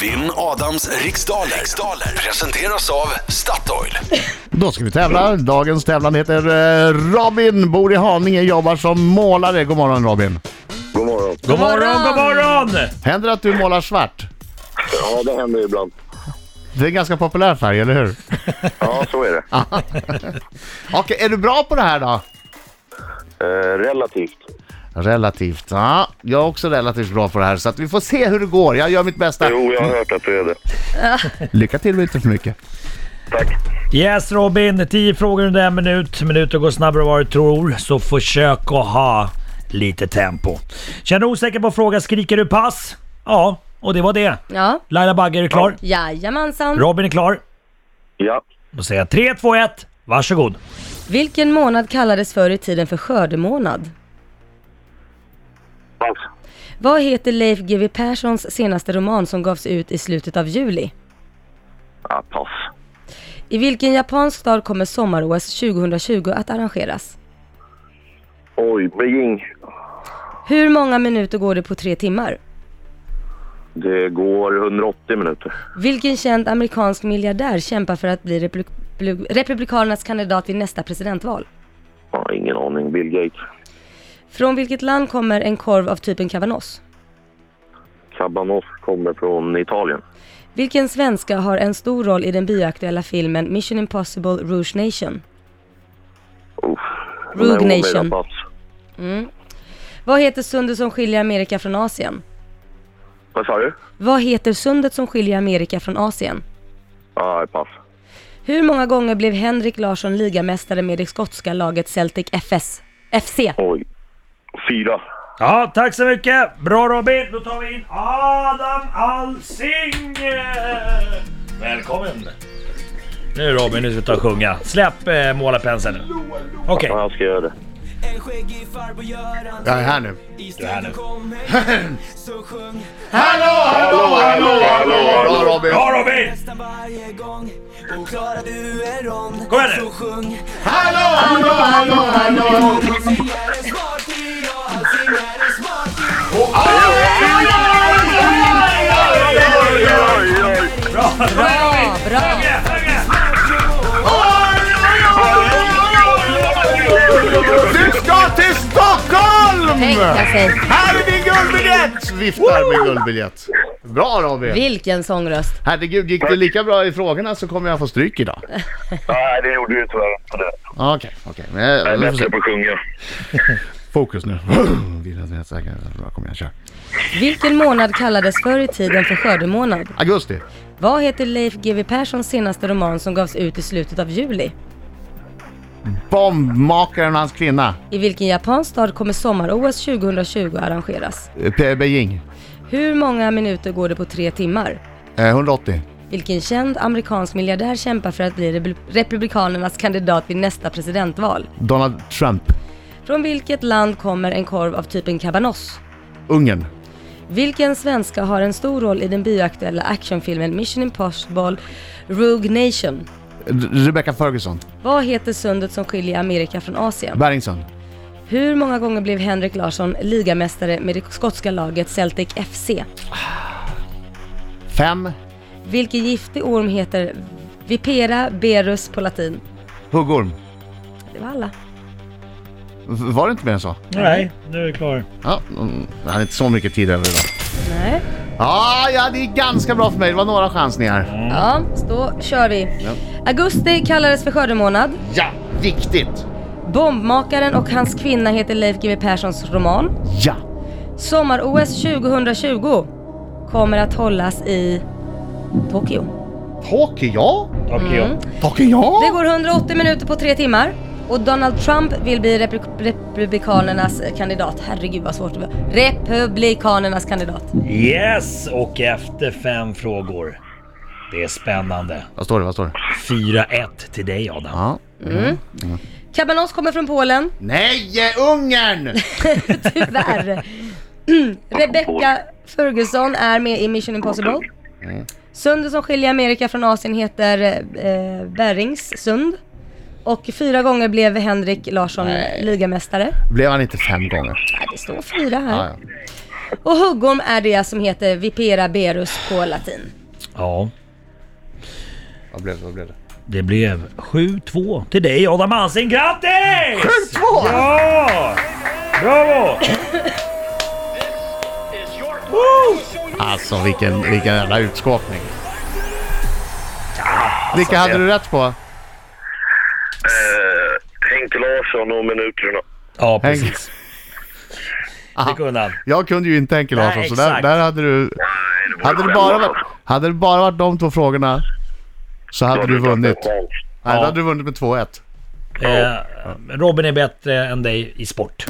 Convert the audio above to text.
Vinn Adams riksdaler. riksdaler presenteras av Statoil. Då ska vi tävla. Dagens tävlan heter eh, Robin, bor i Haninge, jobbar som målare. God morgon Robin. God morgon. God morgon, god morgon! Händer det att du målar svart? Ja, det händer ibland. Det är en ganska populär färg, eller hur? Ja, så är det. Okej, är du bra på det här då? Eh, relativt. Relativt. Ja, jag är också relativt bra på det här så att vi får se hur det går. Jag gör mitt bästa. Jo, jag har hört att du är det. Lycka till men inte för mycket. Tack. Yes Robin, 10 frågor under en minut. Minuter går snabbare än vad du tror, så försök att ha lite tempo. Känner du osäker på frågan skriker du pass? Ja, och det var det. Ja. Laila Bagge, är du klar? Jajamensan. Robin är klar. Ja. Då säger jag 3, 2, 1, varsågod. Vilken månad kallades förr i tiden för skördemånad? Pass. Vad heter Leif GW Perssons senaste roman som gavs ut i slutet av juli? Ja, pass. I vilken japansk stad kommer sommar-OS 2020 att arrangeras? Oj, Beijing. Hur många minuter går det på tre timmar? Det går 180 minuter. Vilken känd amerikansk miljardär kämpar för att bli republik blu- republikanernas kandidat vid nästa presidentval? Ja, ingen aning. Bill Gates. Från vilket land kommer en korv av typen cabanos? Cabanos kommer från Italien. Vilken svenska har en stor roll i den bioaktuella filmen Mission Impossible Rouge Nation? Uff. Rogue Nej, omöjligt, Nation. Pass. Vad heter sundet som skiljer Amerika från Asien? Vad sa du? Vad heter sundet som skiljer Amerika från Asien? Ja, pass. Hur många gånger blev Henrik Larsson ligamästare med det skotska laget Celtic FS? FC? Oj. Fyra. Ja, tack så mycket! Bra Robin! Då tar vi in Adam Alsing! Välkommen! Nu Robin, nu ska vi ta och sjunga. Släpp eh, målarpenseln nu. Okej. Ja, jag ska göra det. En skäggig farbror Göran Jag är här nu. I är här nu. studion kom hej Så sjöng Hallå, hallå, hallå, hallå! Bra Robin! Bra Robin! nästan varje gång Och klarar du en rond Kom igen nu. Så sjöng Hallå, hallå, hallå, hallå! Alsing är en smarting Ja, Alsing är en smarting Oj, oj, oj. Bra, bra! Du ska till Stockholm! Tänka sig. Här är din guldbiljett! Viftar med guldbiljett. Bra Robin! Vilken sångröst! Herregud, gick det lika bra i frågorna så kommer jag få stryk idag. Nej, det gjorde du tyvärr inte. Okej, okej. Men jag- Jag är vi får se. bättre på att sjunga. Fokus nu. Vill att jag är säker. Bra, Kom igen, kör. Vilken månad kallades förr i tiden för skördemånad? Augusti. Vad heter Leif GW Perssons senaste roman som gavs ut i slutet av juli? Bombmakaren och hans kvinna. I vilken japansk stad kommer sommar-OS 2020 arrangeras? Eh, Pe- Beijing. Hur många minuter går det på tre timmar? Eh, 180. Vilken känd amerikansk miljardär kämpar för att bli republi- republikanernas kandidat vid nästa presidentval? Donald Trump. Från vilket land kommer en korv av typen cabanos? Ungern. Vilken svenska har en stor roll i den bioaktuella actionfilmen Mission Impossible Rogue Nation? R- Rebecca Ferguson. Vad heter sundet som skiljer Amerika från Asien? Berringsson. Hur många gånger blev Henrik Larsson ligamästare med det skotska laget Celtic FC? Fem. Vilken giftig orm heter Vipera berus på latin? Huggorm. Det var alla. V- Var det inte mer än så? Nej, nu är det klar. Ja, mm, jag hade inte så mycket tid över idag. Nej. Ah, ja, det gick ganska bra för mig. Det var några chansningar. Ja, då kör vi. Augusti kallades för skördemånad. Ja, viktigt. Bombmakaren och hans kvinna heter Leif GW Perssons roman. Ja. Sommar-OS 2020 kommer att hållas i Tokyo. Tokyo? ja. Okej. Tokyo? ja. Det går 180 minuter på tre timmar och Donald Trump vill bli repri- republikanernas kandidat. Herregud vad svårt det var. Republikanernas kandidat. Yes, och efter fem frågor. Det är spännande. Vad står det? Vad står det? 4-1 till dig Adam. Ja. Kabanos kommer från Polen, Nej, eh, Ungern! tyvärr. Rebecca Ferguson är med i Mission Impossible. Mm. Sundet som skiljer Amerika från Asien heter eh, Berings sund. Och fyra gånger blev Henrik Larsson ligamästare. Blev han inte fem gånger? Nej, det står fyra här. Ja, ja. Och huggorm är det som heter Vipera berus på latin. Ja, Vad blev det? Vad blev det? det blev 7-2 till dig Adam Alsing. Grattis! 7-2! Ja! Bravo! Alltså vilken, vilken jävla utskåpning. Vilka hade det- du rätt på? Eh, Henke Larsson och minuterna. Ja, Henk, precis. Det kunde han. jag kunde ju inte Henke Larsson Nej, så där, exakt. där hade du... Nej, var Hade det, skämt, bara alltså. varit, hade det bara varit de två frågorna så Då hade hade du inte haft en vunnit. chans. Nej, Ja. då hade du vunnit med 2-1. Eh, Robin är bättre än dig i sport.